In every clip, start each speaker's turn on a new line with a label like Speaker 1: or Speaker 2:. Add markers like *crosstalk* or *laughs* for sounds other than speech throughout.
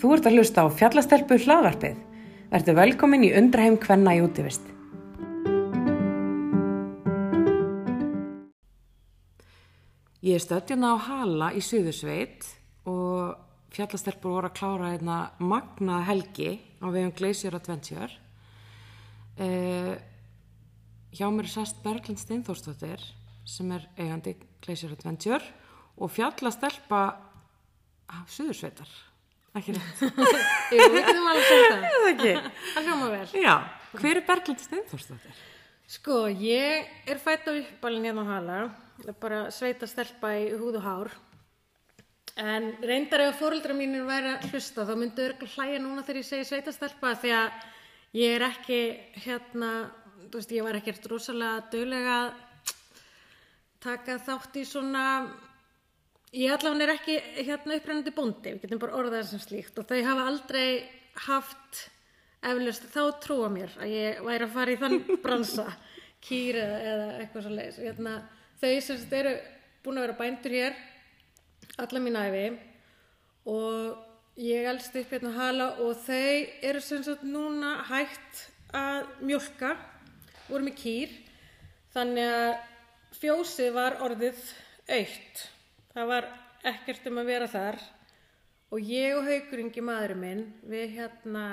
Speaker 1: Þú ert að hlusta á fjallastelpu hlaðvarpið. Vertu velkomin í undraheim kvenna í útivist. Ég er stöddjuna á Hala í Suðursveit og fjallastelpur voru að klára einna magna helgi á vegum Glacier Adventure. Eh, hjá mér er sast Berglind Steinþórsdóttir sem er eigandi Glacier Adventure og fjallastelpa af Suðursveitar. Ekki rétt.
Speaker 2: Jú, við getum alveg sagt það.
Speaker 1: það ekki?
Speaker 2: Það hljóma vel.
Speaker 1: *laughs* Já, hver er Berglind Steinþórsdóttir?
Speaker 2: Sko, ég er fætt á uppalinn hérna á Hala. Það er bara sveita stelpa í húð og hár. En reyndar ef fóreldra mínir væri að hlusta þá myndu örgl hlæja núna þegar ég segi sveita stelpa því að ég er ekki hérna, þú veist, ég var ekkert rosalega döglega að taka þátt í svona Ég allavega er ekki hérna upprennandi bóndi, við getum bara orðað það sem slíkt og þau hafa aldrei haft eflust þá trúa mér að ég væri að fara í þann bransa, kýr eða, eða eitthvað svo leiðis. Hérna, þau sem sagt eru búin að vera bændur hér alla mín æfi og ég elst upp hérna á hala og þau eru sem sagt núna hægt að mjölka, voru með kýr, þannig að fjósið var orðið aukt. Það var ekkert um að vera þar og ég og Haukuringi maðurinn minn, við hérna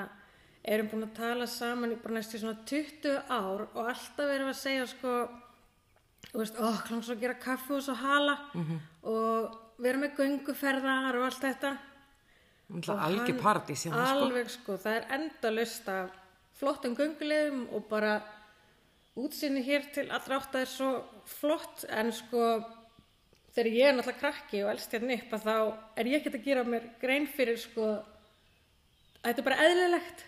Speaker 2: erum búin að tala saman í bara næstu svona 20 ár og alltaf erum við að segja sko, þú veist, ó, langs að gera kaffi og svo hala og vera með gönguferðar og allt þetta.
Speaker 1: Það
Speaker 2: Og
Speaker 1: er algjör
Speaker 2: hann-
Speaker 1: paradís hérna sko.
Speaker 2: alveg sko, það er endalust af flottum göngulegum og bara útsinni hér til allra átt er svo flott en sko þegar ég er náttúrulega krakki og elst hérna upp að þá er ég ekkert að gera mér grein fyrir sko að þetta er bara eðlilegt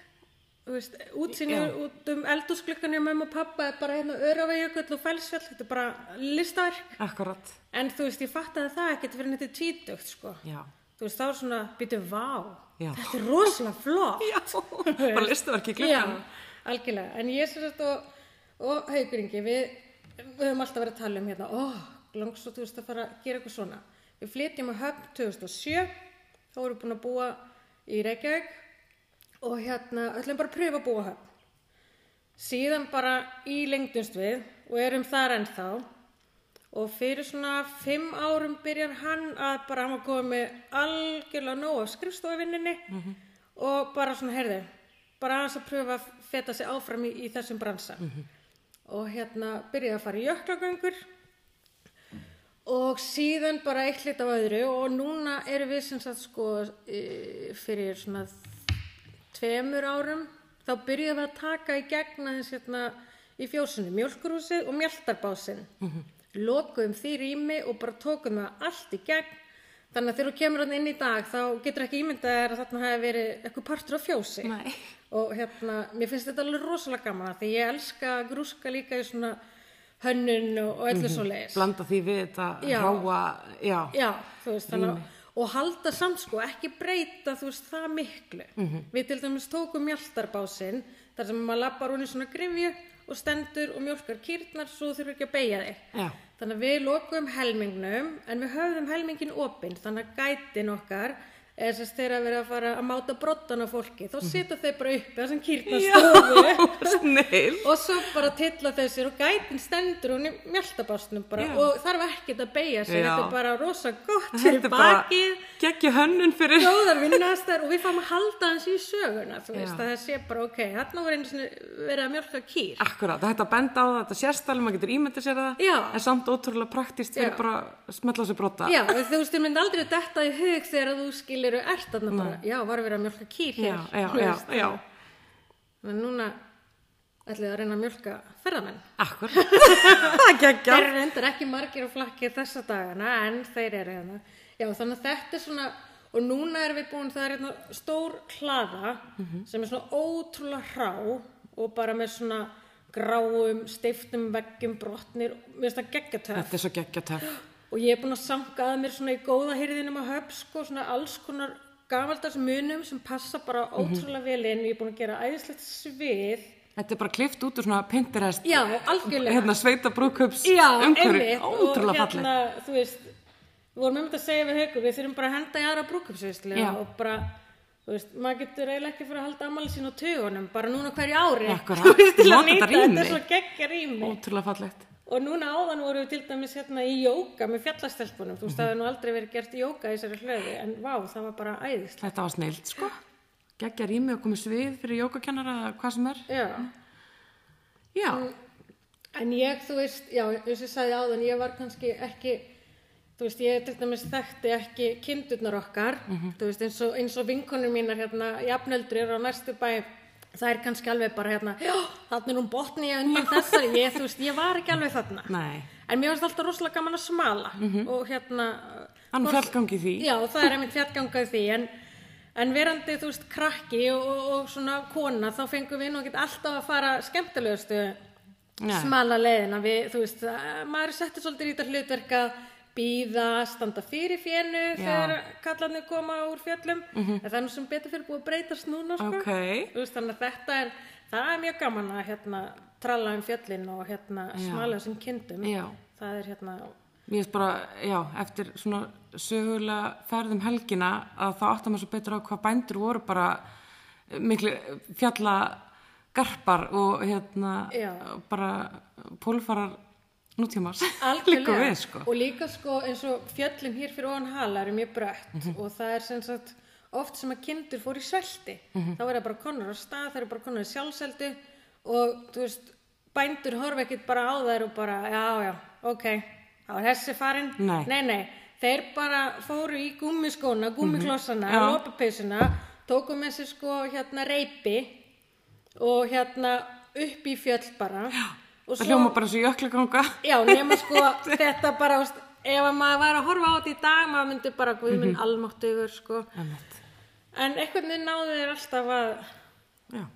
Speaker 2: Þú veist, útsinni
Speaker 1: Já.
Speaker 2: út um eldúsglökkunni mamma og pappa er bara hérna öravegull og fælsfjall, þetta er bara listaverk
Speaker 1: Akkurat,
Speaker 2: en þú veist, ég fattaði það ekkert fyrir þetta tvítugt sko
Speaker 1: já.
Speaker 2: þú veist, þá er svona, býtu, vá,
Speaker 1: Já.
Speaker 2: þetta er rosalega flott.
Speaker 1: Já, *laughs* bara listaverk í glöggan.
Speaker 2: algjörlega, en ég sem sagt og, og hauguringi, við, við höfum alltaf verið að tala um hérna, ó, langs og þú veist að fara að gera eitthvað svona. Við flytjum að höfn 2007, þá erum við búin að búa í Reykjavík og hérna, öllum bara að pröfa að búa á höfn. Síðan bara í lengdumst við og erum þar ennþá og fyrir svona fimm árum byrjar hann að bara hann var komið með algjörlega nóg af skrifstofinninni og bara svona herði bara aðeins að pröfa að feta sig áfram í, í þessum bransa og hérna byrjaði að fara í jöklagöngur og síðan bara eitt lit af öðru og núna erum við sem sagt sko e, fyrir svona tveimur árum þá byrjuðum við að taka í gegn aðeins hérna í fjósinu mjölkurhúsið og mjöltarbásinn lokuðum því rými og bara tókum það allt í gegn þannig að þegar þú kemur hann inn í dag þá getur ekki ímyndað þér að þarna hafi verið eitthvað partur af fjósi
Speaker 1: Nei.
Speaker 2: og hérna, mér finnst þetta alveg rosalega gaman af því ég elska að grúska líka í svona hönnun og, og öllu svo leiðis
Speaker 1: Blanda því við þetta
Speaker 2: Já.
Speaker 1: ráa, já.
Speaker 2: já, þú veist þannig að og halda samt sko, ekki breyta þú veist það miklu við til dæmis tókum mjöltarbásinn þar sem maður lappar hún í svona grifju og stendur og mjölkar kýrnar svo þú þurfur ekki að beigja þig
Speaker 1: Já,
Speaker 2: þannig að við lokum helmingnum en við höfðum helmingin opinn þannig að gætin okkar eða sérst þeirra verið að fara að máta brottan á fólki þá setja þeir bara upp þessum
Speaker 1: *laughs*
Speaker 2: kýrnastofu
Speaker 1: snill.
Speaker 2: og svo bara tilla þessir og gætin stendur hún í mjöltabásnum bara
Speaker 1: Já.
Speaker 2: og þarf ekkert að beigja sig
Speaker 1: Já.
Speaker 2: þetta er bara rosa gott
Speaker 1: Þetta
Speaker 2: fyrir
Speaker 1: er bara
Speaker 2: bakið
Speaker 1: geggju hönnun fyrir...
Speaker 2: góðar vinnastar og við fáum að halda hans í söguna þú veist
Speaker 1: Já.
Speaker 2: að það sé bara ok þarna var einu sinni verið að mjölka kýr
Speaker 1: Akkurat, það hætti að benda á það, þetta sérstæli, maður getur ímyndið sér það.
Speaker 2: Já.
Speaker 1: En samt ótrúlega praktist fyrir
Speaker 2: Já.
Speaker 1: bara að smetla sér brota.
Speaker 2: Já, og þú veist, þú mynd aldrei detta í hug þegar þú skilur og ert þarna bara, já, var að vera að mjölka kýr
Speaker 1: já,
Speaker 2: hér.
Speaker 1: já,
Speaker 2: þú
Speaker 1: já,
Speaker 2: veist.
Speaker 1: já.
Speaker 2: En núna ætlið að reyna að mjölka ferðamenn. *laughs*
Speaker 1: Akkurat. það geggja.
Speaker 2: Þeir eru reyndar ekki margir á flakki þessa dagana, en þeir eru hérna. Já, þannig að þetta er svona, og núna erum við búin, það er hérna stór hlaða sem er svona ótrúlega hrá og bara með svona gráum, steiftum veggjum, brotnir, mér finnst það geggjatöf.
Speaker 1: Þetta er svo geggja töff.
Speaker 2: og ég er búin að sanka að mér svona í góða hyrðinum að höf sko, svona alls konar gamaldags munum sem passa bara ótrúlega vel inn ég er búin að gera æðislegt svið
Speaker 1: Þetta er bara klift út úr svona Pinterest
Speaker 2: já, algjörlega
Speaker 1: hérna sveita brúkups
Speaker 2: já,
Speaker 1: umhverju,
Speaker 2: einmitt. og
Speaker 1: ótrúlega
Speaker 2: hérna, þú veist við vorum einmitt að segja við haukur, við þurfum bara að henda í aðra brúkumsveislu
Speaker 1: Já.
Speaker 2: og bara þú veist, maður getur eiginlega ekki fyrir að halda ammali sín á tugunum, bara núna hverju ári
Speaker 1: Akkúrat.
Speaker 2: *laughs* þú veist, til að
Speaker 1: Nota
Speaker 2: nýta
Speaker 1: þetta
Speaker 2: þetta
Speaker 1: rými.
Speaker 2: er svo geggja rými
Speaker 1: Ótrúlega fallegt.
Speaker 2: og núna áðan voru við til dæmis hérna í jóka með fjallastelpunum, þú veist,
Speaker 1: Mhm.
Speaker 2: það hefur nú aldrei verið gert jóka í þessari hlöðu, en vá, það var bara æðislega,
Speaker 1: Þetta var snild, sko. Geggja rými og komið svið fyrir jókakennara eða hvað sem er.
Speaker 2: já
Speaker 1: Já,
Speaker 2: En ég, þú veist, já, eins og ég sagði áðan, ég var kannski ekki, þú veist, ég til dæmis þekkti ekki kindurnar okkar, þú veist, eins og, eins og vinkonur mínar hérna, jafnöldri eru á næstu bæ, það er kannski alveg bara hérna, já, þarna er hún botni, ég unni þessari, ég, þú veist, ég var ekki alveg þarna.
Speaker 1: nei.
Speaker 2: En mér varst alltaf rosalega gaman að smala og hérna...
Speaker 1: Mhm. Hann
Speaker 2: hvort-
Speaker 1: fjallgangi því.
Speaker 2: Já, það er einmitt fjallgangað því en, en verandi, þú veist, krakki og, og, og svona kona þá fengum við nú ekki alltaf að fara skemmtilegustu
Speaker 1: Nei.
Speaker 2: smala leiðina við, þú veist, að- maður er settur svolítið í þetta hlutverk að býða, standa fyrir
Speaker 1: Já.
Speaker 2: fjennu
Speaker 1: Mhm.
Speaker 2: þegar kallarnir koma úr fjallum en það er nú sem betur fyrir búið að breytast núna sko.
Speaker 1: Ok.
Speaker 2: Þú veist, þannig að þetta er það er mjög gaman að hérna tralla um fjallin og hérna smala sem kindum
Speaker 1: Já.
Speaker 2: það er hérna
Speaker 1: Mér finnst bara, já, eftir svona sögulega ferðum helgina að þá áttar maður svo betur á hvað bændur voru bara eh, miklu fjalla garpar og hérna
Speaker 2: Já.
Speaker 1: bara pólfarar nútímas *laughs*
Speaker 2: algjörlega.
Speaker 1: Líka við, sko.
Speaker 2: og líka sko eins og fjallin hér fyrir ofan hala eru mjög brött
Speaker 1: Mhm.
Speaker 2: og það er sem sagt oft sem að kindur fór í svelti
Speaker 1: Mhm.
Speaker 2: þá er það bara konur á stað, það eru bara konur í sjálfseldu og þú veist bændur horfa ekkit bara á þær og bara já já, ok, þá er hessi farin
Speaker 1: Nei.
Speaker 2: nei, þeir bara fóru í gúmmiskóna, gúmmiklossana
Speaker 1: Mhm. Já.
Speaker 2: lopapeysuna, tóku með sér sko hérna reypi og hérna upp í fjöll bara já, og
Speaker 1: Það hljóma bara svo jöklaganga.
Speaker 2: Já, nema sko þetta bara, þú veist, ef að maður væri að horfa á þetta í dag, maður myndi bara guðminn mm -hmm. almáttugur, sko.
Speaker 1: Mhm. Einmitt.
Speaker 2: En einhvern veginn náðu þeir alltaf að
Speaker 1: Já,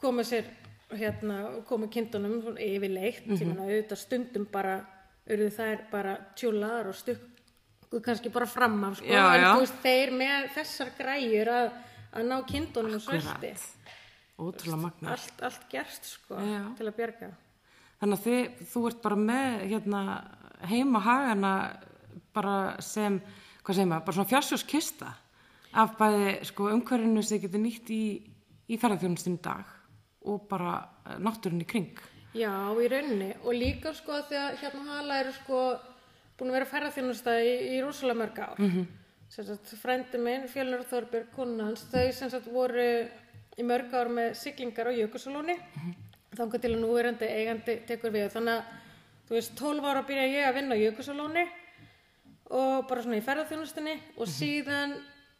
Speaker 2: koma sér, hérna, koma kindunum svona yfirleitt,
Speaker 1: Mhm.
Speaker 2: mm -hmm. ég meina auðvitað stundum bara, auðvitað þær bara tjúlaðar og stukku kannski bara fram af, sko.
Speaker 1: Já,
Speaker 2: en
Speaker 1: já.
Speaker 2: þú veist, þeir með þessar græjur að, að ná kindunum og svelti.
Speaker 1: grænt. Ótrúlega magna.
Speaker 2: Allt, allt gerst, sko,
Speaker 1: Já.
Speaker 2: til að bjarga.
Speaker 1: Þannig að þið, þú ert bara með hérna, heima hagana bara sem, hvað segir maður, bara svona fjársjóskista af bæði sko, umhverfinu sem þið getur nýtt í, í ferðarþjónustunum dag og bara eh, náttúrunni í kring.
Speaker 2: Já, í rauninni og líka sko af því að hérna hala eru sko búin að vera ferðarþjónustæði í, í rosalega mörg ár. Mm -hmm. Sagt, frændi minn, Fjölnur Þorbjörg, konunans, þau sem sagt voru í mörg ár með siglingar á Jökulsalóni, mm þangar til að núverandi eigandi tekur við. Þannig að, þú veist, 12 ára byrja ég að vinna á Jökulsalóni og bara svona í ferðarþjónustinni og
Speaker 1: Mhm.
Speaker 2: síðan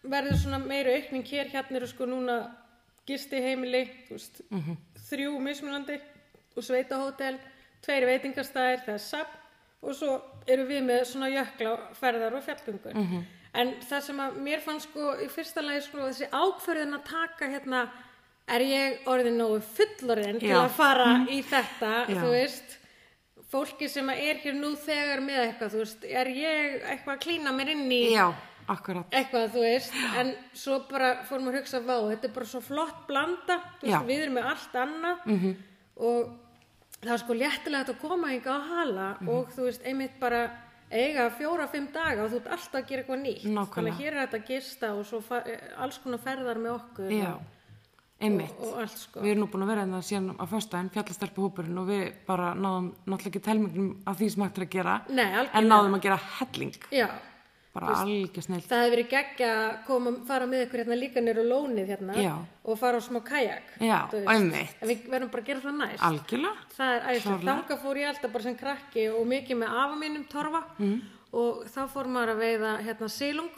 Speaker 2: verður svona meira aukning hér, hérna eru sko núna gisti heimili, þú veist,
Speaker 1: Mhm.
Speaker 2: þrjú mismunandi og sveitahótel, tveir veitingastæðir, það er safn og svo eru við með svona jökla ferðar og fjallgöngur.
Speaker 1: Mhm.
Speaker 2: En það sem að mér fannst sko í fyrsta lagi sko þessi ákverðin að taka hérna er ég orðin nógu fullorinn til
Speaker 1: Já. Mhm.
Speaker 2: að fara í
Speaker 1: Já.
Speaker 2: þetta, þú veist, fólki sem að er hér nú þegar með eitthvað, þú veist, er ég eitthvað að klína mér inn í
Speaker 1: Já, akkurat.
Speaker 2: eitthvað, þú veist, en svo bara fórum að hugsa, vá, þetta er bara svo flott blanda, þú veist,
Speaker 1: Já. Mhm.
Speaker 2: við erum með allt annað -hmm. og það var sko léttilega hægt að koma hinga á hala
Speaker 1: Mhm.
Speaker 2: og þú veist, einmitt bara eiga fjóra-fimm daga og þú ert alltaf að gera eitthvað nýtt,
Speaker 1: Nákvæmlega.
Speaker 2: þannig að hér er þetta að gista og svo fa- eh, alls konar ferðar með okkur
Speaker 1: Já,
Speaker 2: og,
Speaker 1: einmitt.
Speaker 2: og allt sko.
Speaker 1: Við erum nú búin að vera hérna síðan á föstudaginn, fjallastelpa hópurinn og við bara náðum náttúrulega ekki telmingnum af því sem hægt er að gera.
Speaker 2: Nei, algjörlega.
Speaker 1: En náðum að gera helling.
Speaker 2: Já,
Speaker 1: Bara algjör snill.
Speaker 2: Það hefði verið geggja að koma, fara með ykkur hérna líka nýra lónið hérna
Speaker 1: Já.
Speaker 2: og fara á smá kajak.
Speaker 1: Já,
Speaker 2: þú veist.
Speaker 1: einmitt.
Speaker 2: En Við verðum bara að gera það næst.
Speaker 1: Algjörlega.
Speaker 2: Það er æðislega.
Speaker 1: Klárlega.
Speaker 2: Þanga fór ég alltaf bara sem krakki og mikið með afa mínum torfa og þá fór maður að veiða hérna silung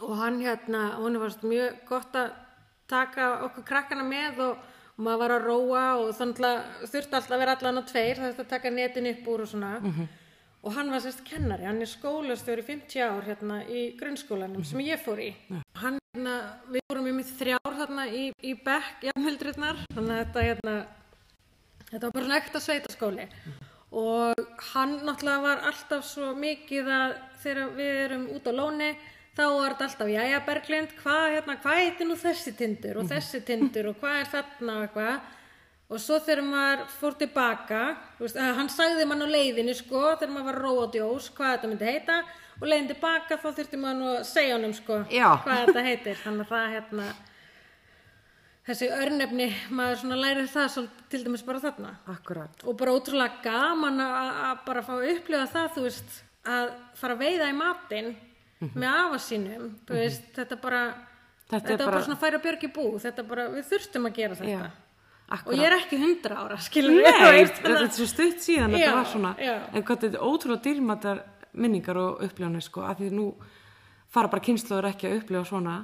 Speaker 2: og hann hérna, hún varst mjög gott að taka okkur krakkana með og og maður var að róa og þannig að þurfti alltaf að vera allan á tveir, það þurfti að taka netin upp úr og svona. Og hann var sérst kennari, hann er skólastjóri í 50 ár hérna í grunnskólanum sem ég fór í. Hann, hérna, við fórum í mig þrjár þarna í, í bekk, jafnhildrunnar, þannig að þetta hérna, Þetta var bara svona ekta sveitaskóli og hann náttúrulega var alltaf svo mikið að þegar við erum út á lóni þá var þetta alltaf, jæja Berglind, hvað hérna, hva heitir nú þessi tindur og þessi tindur og hvað er þarna og eitthvað Og svo þegar maður fór tilbaka, þú veist, að hann sagði mann á leiðinu sko, þegar maður var að róa á djós, hvað þetta myndi heita og leiðin tilbaka þá þurfti maður nú að segja honum sko,
Speaker 1: Já.
Speaker 2: hvað þetta heitir. Þannig að það hérna, þessi örnefni, maður svona lærir það svolítið til dæmis bara þarna.
Speaker 1: Akkurat.
Speaker 2: Og bara ótrúlega gaman að- að að bara fá að upplifa það, þú veist, að fara að veiða í matinn með afa sínum, þú veist, þetta bara,
Speaker 1: Mhm. Þetta er
Speaker 2: þetta var bara
Speaker 1: bara-
Speaker 2: svona að færa björg í bú, þetta bara, við þurftum að gera þetta.
Speaker 1: Já. Akkurat.
Speaker 2: Og ég er ekki hundra ára, *laughs* skilur
Speaker 1: Nei,
Speaker 2: þú veist,
Speaker 1: þetta er
Speaker 2: þannig
Speaker 1: svo stutt síðan að
Speaker 2: Já,
Speaker 1: þetta var svona
Speaker 2: já.
Speaker 1: en hvað þetta er ótrúlega dýrmættar minningar og upplifanir sko af því nú fara bara kynnslóður ekki að upplifa svona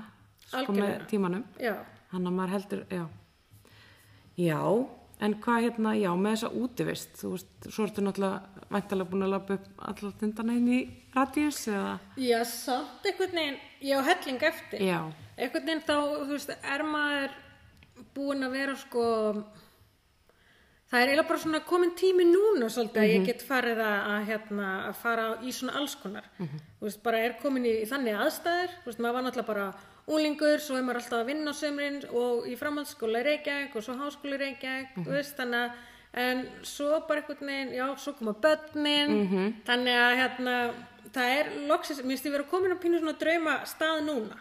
Speaker 1: sko með
Speaker 2: Algjörlega.
Speaker 1: tímanum
Speaker 2: að- Já,
Speaker 1: hann að maður heldur, já já, en hvað hérna já, með þessa útivist þú veist, svo ertu náttúrulega væntalega búin að lappa upp allar tindana inn í radíus eða,
Speaker 2: já, samt einhvern veginn, ég á helling eftir.
Speaker 1: já,
Speaker 2: Einhvern veginn þá, þú veist, er maður búin að vera sko, það er eiginlega bara svona komin tími núna svolítið að ég get farið að, að, hérna, að fara í svona alls konar. Þú veist, bara er komin í þannig aðstæður, þú veist, maður var náttúrulega bara úlingur, svo er maður alltaf að vinna á sömurinn og í framhaldsskóla í Reykjavík og svo háskóla í Reykjavík, þú veist, þannig að en svo bara einhvern veginn, já, svo koma börnin, þannig að hérna, það er loksins, mér finnst ég vera komin að pínu svona drauma stað núna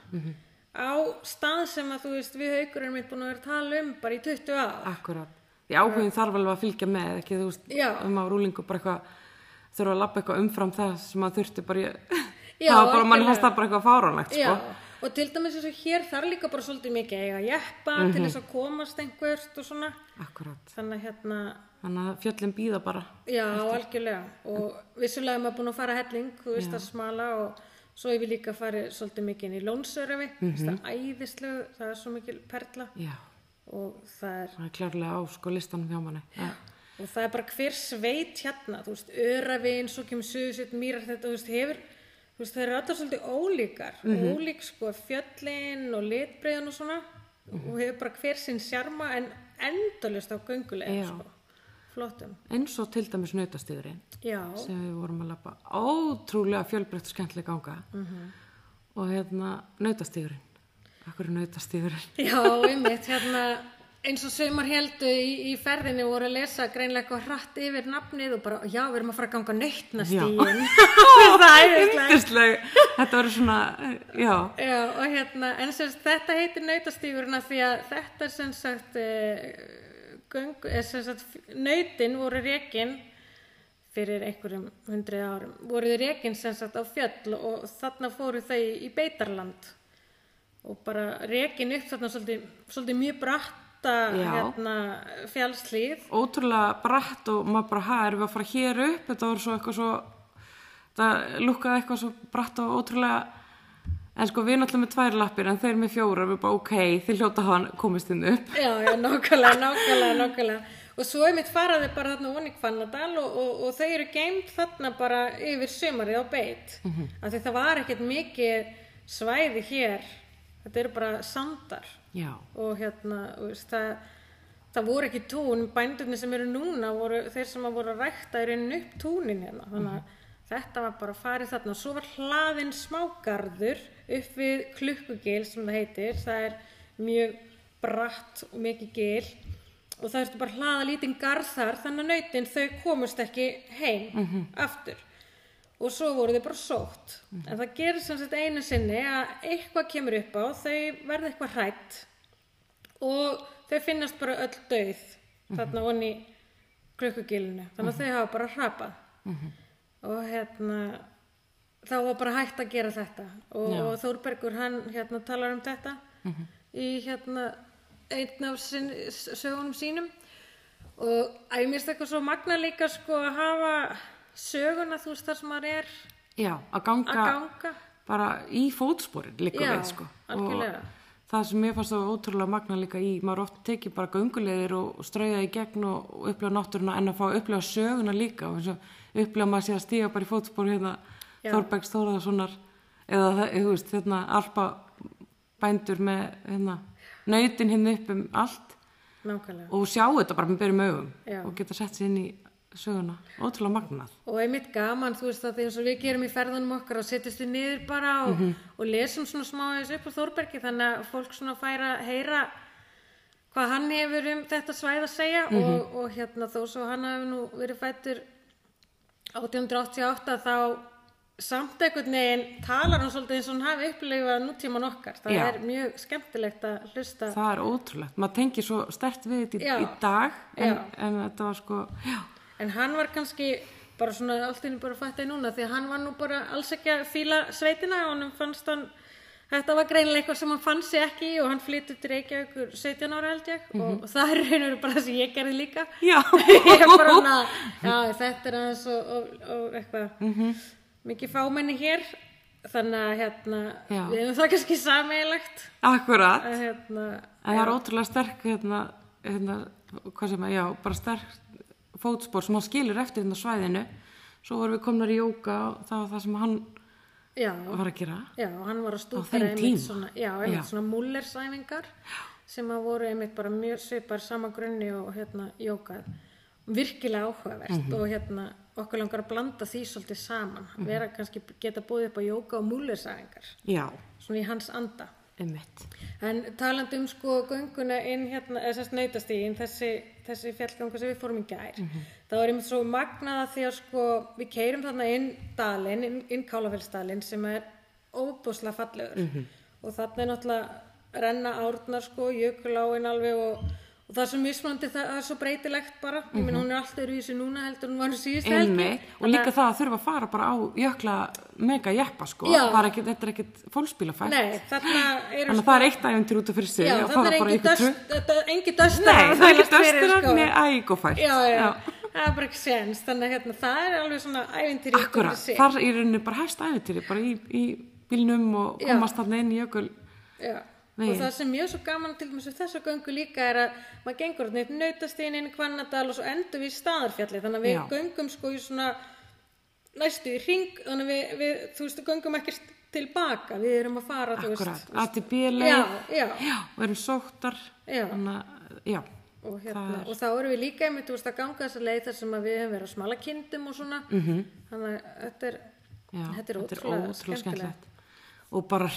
Speaker 2: á stað sem að þú veist við haukur erum mitt búin að vera að tala um bara í 20 ár
Speaker 1: akkurat því áhugin þarf alveg að fylgja með ekki þú veist,
Speaker 2: Já.
Speaker 1: um á rúlingu bara eitthvað þurfa að lappa eitthvað umfram það sem maður þurfti bara í-
Speaker 2: Já,
Speaker 1: *laughs* það var bara, mann
Speaker 2: algjörlega.
Speaker 1: fannst það bara eitthvað fáránlegt sko.
Speaker 2: Já, og til dæmis eins og hér þar líka bara svolítið mikið að eiga að jeppa til þess að komast einhvert og svona
Speaker 1: akkurat,
Speaker 2: þannig að hérna,
Speaker 1: þannig að fjöllin býða bara
Speaker 2: já algjörlega og vissulega er maður búin að fara helling þú veist að smala og svo hefur líka farið svolítið mikið inn í lónsörfi mm -hmm. það er æðislegu, það er svo mikil perla
Speaker 1: já,
Speaker 2: og það er
Speaker 1: það er klárlega á sko listanum hjá manni já,
Speaker 2: og það er bara hver sveit hérna þú veist, öravinn, svo kemur suðsveit mýrar þetta, þú veist, hefur þú veist, það eru alltaf svolítið ólíkar ólík sko fjöllin og litbreiðin og svona og hefur bara hver sinn sjarma en endalust á göngulegum
Speaker 1: Já.
Speaker 2: sko flottum,
Speaker 1: eins og til dæmis nautastíðurinn
Speaker 2: já,
Speaker 1: sem við vorum að lappa ótrúlega fjölbreytt og skemmtileg ganga
Speaker 2: Mhm.
Speaker 1: og hérna nautastíðurinn akkur er nautastíðurinn
Speaker 2: já, einmitt hérna eins og sömur heldu í, í ferðinni voru að lesa greinlega eitthvað hratt yfir nafnið og bara, já, við erum að fara að ganga nautnastíin
Speaker 1: *laughs*
Speaker 2: það er æðislegt.
Speaker 1: Yndisleg. þetta verður svona já,
Speaker 2: Já, og hérna, en sem sagt, þetta heitir nautastígurinn af því að þetta sem sagt, eh, göng, eh, sem sagt nautin voru rekin fyrir einhverjum hundrið árum, voru þau rekin sem sagt á fjöll og þarna fóru þau í beitarland og bara rekin upp þarna svolítið, svolítið mjög bratta
Speaker 1: Já.
Speaker 2: hérna, fjallslíð.
Speaker 1: ótrúlega bratt og maður bara, hæ, erum við að fara hér upp þetta voru svo eitthvað svo það lukkaði eitthvað svo bratt og ótrúlega en sko við náttúrulega með tvær lappir en þeir með fjórar, við bara ok þið hljóta hann komist inn upp
Speaker 2: Já, já, nákvæmlega, nákvæmlega, nákvæmlega. Og svo er mitt faraði bara þarna oní Hvannadal og, og, og þau eru geimt þarna bara yfir sömarið á beit. Mm Af því það var ekkert mikið svæði hér. Þetta eru bara sandar
Speaker 1: já,
Speaker 2: og hérna, þú veist, það, það voru ekki tún. Bændurnir sem eru núna voru þeir sem að voru að rækta eru inn upp túnin hérna. Þannig að þetta var bara farið þarna. Og svo var hlaðinn smágarður upp við klukkugil sem það heitir. Það er mjög bratt og mikið gil og það ertu bara að hlaða lítinn garð þar þannig að nautin þau komust ekki heim aftur og svo voru þau bara sótt en það gerir sem sagt einu sinni að eitthvað kemur upp á, þau verða eitthvað hrætt og þau finnast bara öll döið þarna onni klukkugilinu þannig að þau hafa bara hrapað og hérna þá var bara hægt að gera þetta og
Speaker 1: Já.
Speaker 2: Þórbergur hann hérna talar um þetta í hérna einn af sin, sögunum sínum og að ég mérst eitthvað svo magna líka sko að hafa söguna þú veist þar sem maður er
Speaker 1: já, að ganga,
Speaker 2: að ganga
Speaker 1: bara í fótsporin líka
Speaker 2: Já,
Speaker 1: við sko
Speaker 2: algjörlega.
Speaker 1: og það sem mér fannst það ótrúlega magna líka í maður oft tekið bara göngulegir og og strauða í gegn og og upplifa náttúruna en að fá að upplifa söguna líka og eins og upplifa maður sé að stíga bara í fótsporin hérna
Speaker 2: Já.
Speaker 1: Þorbergs Þóraðarssonar eða það- þú veist hérna alpa bændur með hérna nautin hérna upp um allt
Speaker 2: nákvæmlega
Speaker 1: og sjá þetta bara með byrjum augum
Speaker 2: Já.
Speaker 1: og geta sett sér inn í söguna ótrúlega magnað
Speaker 2: og einmitt gaman, þú veist að því eins og við gerum í ferðunum okkar og setjast við niður bara og, og lesum svona smá aðeins upp á Þórbergi þannig að fólk svona færa að heyra hvað hann hefur um þetta svæð að segja og, og hérna þó svo hann hefur nú verið fættur 1888 þá samt einhvern veginn talar hann svolítið eins og hann hafi upplifað nútíman okkar það
Speaker 1: Já.
Speaker 2: er mjög skemmtilegt að hlusta
Speaker 1: það er ótrúlegt, maður tengir svo stert við þetta
Speaker 2: Já.
Speaker 1: í, í dag en,
Speaker 2: Já.
Speaker 1: en þetta var sko já,
Speaker 2: En hann var kannski bara svona allt inni bara að fatta í núna því að hann var nú bara alls ekki að fíla sveitina og hann fannst hann þetta var greinilega eitthvað sem hann fann sig ekki í og hann flyttu til Reykjavíkur 17 ára held ég og það er raunur bara það sem ég gerði líka
Speaker 1: Mhm. *laughs* já.
Speaker 2: *laughs* ég er bara
Speaker 1: *laughs*
Speaker 2: hann að já, þetta er aðeins og, og, og eitthvað
Speaker 1: Mhm.
Speaker 2: mikið fámenni hér þannig að hérna
Speaker 1: Já.
Speaker 2: við hefum það kannski sameigilegt
Speaker 1: akkurat
Speaker 2: að hérna
Speaker 1: en það er ótrúlega sterk hérna, hérna, hvað sem að, já, bara sterk fótspor sem hann skilur eftir hérna á svæðinu svo vorum við komnar í jóka og það var það sem hann
Speaker 2: já,
Speaker 1: var að gera
Speaker 2: Já, hann var
Speaker 1: þeim
Speaker 2: að stúdera einmitt
Speaker 1: tíma.
Speaker 2: svona, já, einmitt
Speaker 1: Já.
Speaker 2: svona múllersæfingar sem að voru einmitt bara mjög svipar sama grunni og hérna jókað. Virkilega áhugavert
Speaker 1: Mhm.
Speaker 2: og hérna okkur langar að blanda því svolítið saman. Vera kannski geta búið upp á jóka og múllersæfingar,
Speaker 1: já,
Speaker 2: svona í hans anda.
Speaker 1: einmitt
Speaker 2: En talandi um sko gönguna inn hérna, eða sérst nautastíðin, þessi, þessi fjallgangu sem við fórum í gær,
Speaker 1: Mhm.
Speaker 2: þá er einmitt svo magnaða því að sko við keirum þarna inn dalinn, inn, inn Kálafellsdalinn sem er óbúslega fallegur
Speaker 1: Mhm.
Speaker 2: og þarna er náttúrulega renna árnar sko, jökuláin alveg og, og það er svo mismunandi, það, það er svo breytilegt bara, ég meina hún er alltaf í þessu núna heldur en hún var nú síðust
Speaker 1: Mhm. einmitt, og líka það að þurfa að fara bara á jökla mega jeppa sko
Speaker 2: Já.
Speaker 1: Bara ekkit, þetta er ekkit fólksbílafætt
Speaker 2: Nei, þarna eru
Speaker 1: þannig að það er eitt æventur út af fyrir sig
Speaker 2: Já,
Speaker 1: og
Speaker 2: þarna
Speaker 1: fara
Speaker 2: er
Speaker 1: bara í
Speaker 2: engin
Speaker 1: eitthvað
Speaker 2: döst,
Speaker 1: trukk.
Speaker 2: þetta- engin döstur
Speaker 1: Nei, það er ekki döstur en ægofært
Speaker 2: sko. já, já, það er bara ekki séns þannig að hérna, það er alveg svona ævintýri út fyrir
Speaker 1: Akkurat,
Speaker 2: sig.
Speaker 1: þar er henni bara hæst ævintýri bara í, í bílnum og
Speaker 2: Já.
Speaker 1: komast þarna inn í jökul
Speaker 2: Já. og
Speaker 1: Veginn.
Speaker 2: það sem mjög svo gaman til dæmis við þessa göngu líka er að maður gengur þarna upp nautastíðin inn í Hvannadal og svo endur við í staðarfjalli þannig að við
Speaker 1: Já.
Speaker 2: göngum sko í svona næstu í ring þannig að við, við þú veist, göngum ekkert tilbaka við erum að fara, þú
Speaker 1: Akkurat,
Speaker 2: veist
Speaker 1: ATB
Speaker 2: já,
Speaker 1: leið
Speaker 2: já,
Speaker 1: já, og erum sóttar
Speaker 2: Já.
Speaker 1: að, já,
Speaker 2: og, hérna, og þá erum við líka einmitt þú veist, að ganga þessa leið þar sem að við höfum verið að smala kindum og svona -hmm. þannig að þetta er,
Speaker 1: Mhm. já
Speaker 2: þetta er ótrúlega, skemmtilegt
Speaker 1: skemmtilegt og bara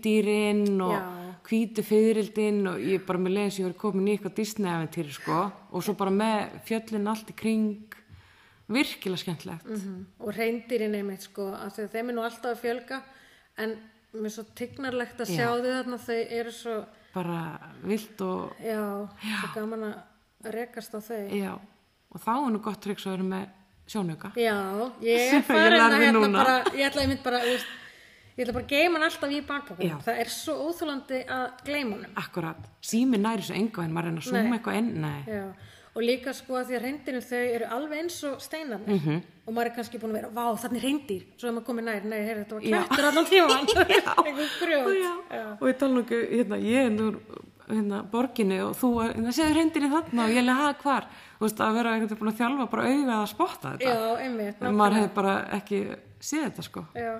Speaker 1: reyndýrin og
Speaker 2: Já.
Speaker 1: hvítu fyririldin og ég bara með leiðis ég verið komin í eitthvað Disney-aventýri sko og svo bara með fjöllin allt í kring virkilega skemmtilegt
Speaker 2: og reyndirinn einmitt sko af því að þeim er nú alltaf að fjölga en mér er svo tignarlegt að sjá þau þarna þau eru svo,
Speaker 1: bara vilt og
Speaker 2: já, svo gaman að rekast á þau
Speaker 1: já, og þá er nú gott tryggs að vera með sjónauka
Speaker 2: já,
Speaker 1: *laughs*
Speaker 2: ég
Speaker 1: Sem
Speaker 2: er
Speaker 1: ég
Speaker 2: farin að
Speaker 1: lærði
Speaker 2: hérna
Speaker 1: núna.
Speaker 2: bara ég ætla einmitt bara, þú veist ég ætla bara að geyma hann alltaf í
Speaker 1: Já.
Speaker 2: bakpokum það er svo óþúlandi að gleyma hann
Speaker 1: Akkurat, sími næri svo enga en maður reyna að súma
Speaker 2: Nei.
Speaker 1: eitthvað inn, nei,
Speaker 2: Já, og líka sko að því að reyndirinn þau eru alveg eins og steinarnir -hmm.
Speaker 1: Mhm.
Speaker 2: og maður er kannski búin að vera, vá, þarna er reyndir svo er maður komið nær, nei, heyr, þetta var
Speaker 1: Já.
Speaker 2: klættur allan
Speaker 1: *laughs*
Speaker 2: tíman einhver grjót
Speaker 1: já. og ég tala nú ekki, hérna, ég er nú hérna, borginni og þú, er- hérna, séðu reyndir í þarna og ég leið, hæ, hvar þú veist, að vera eitthvað búin að þjálfa bara auðvitað að spotta þetta,
Speaker 2: Já, einmitt,
Speaker 1: en maður hefði bara ekki séð þetta, sko,
Speaker 2: já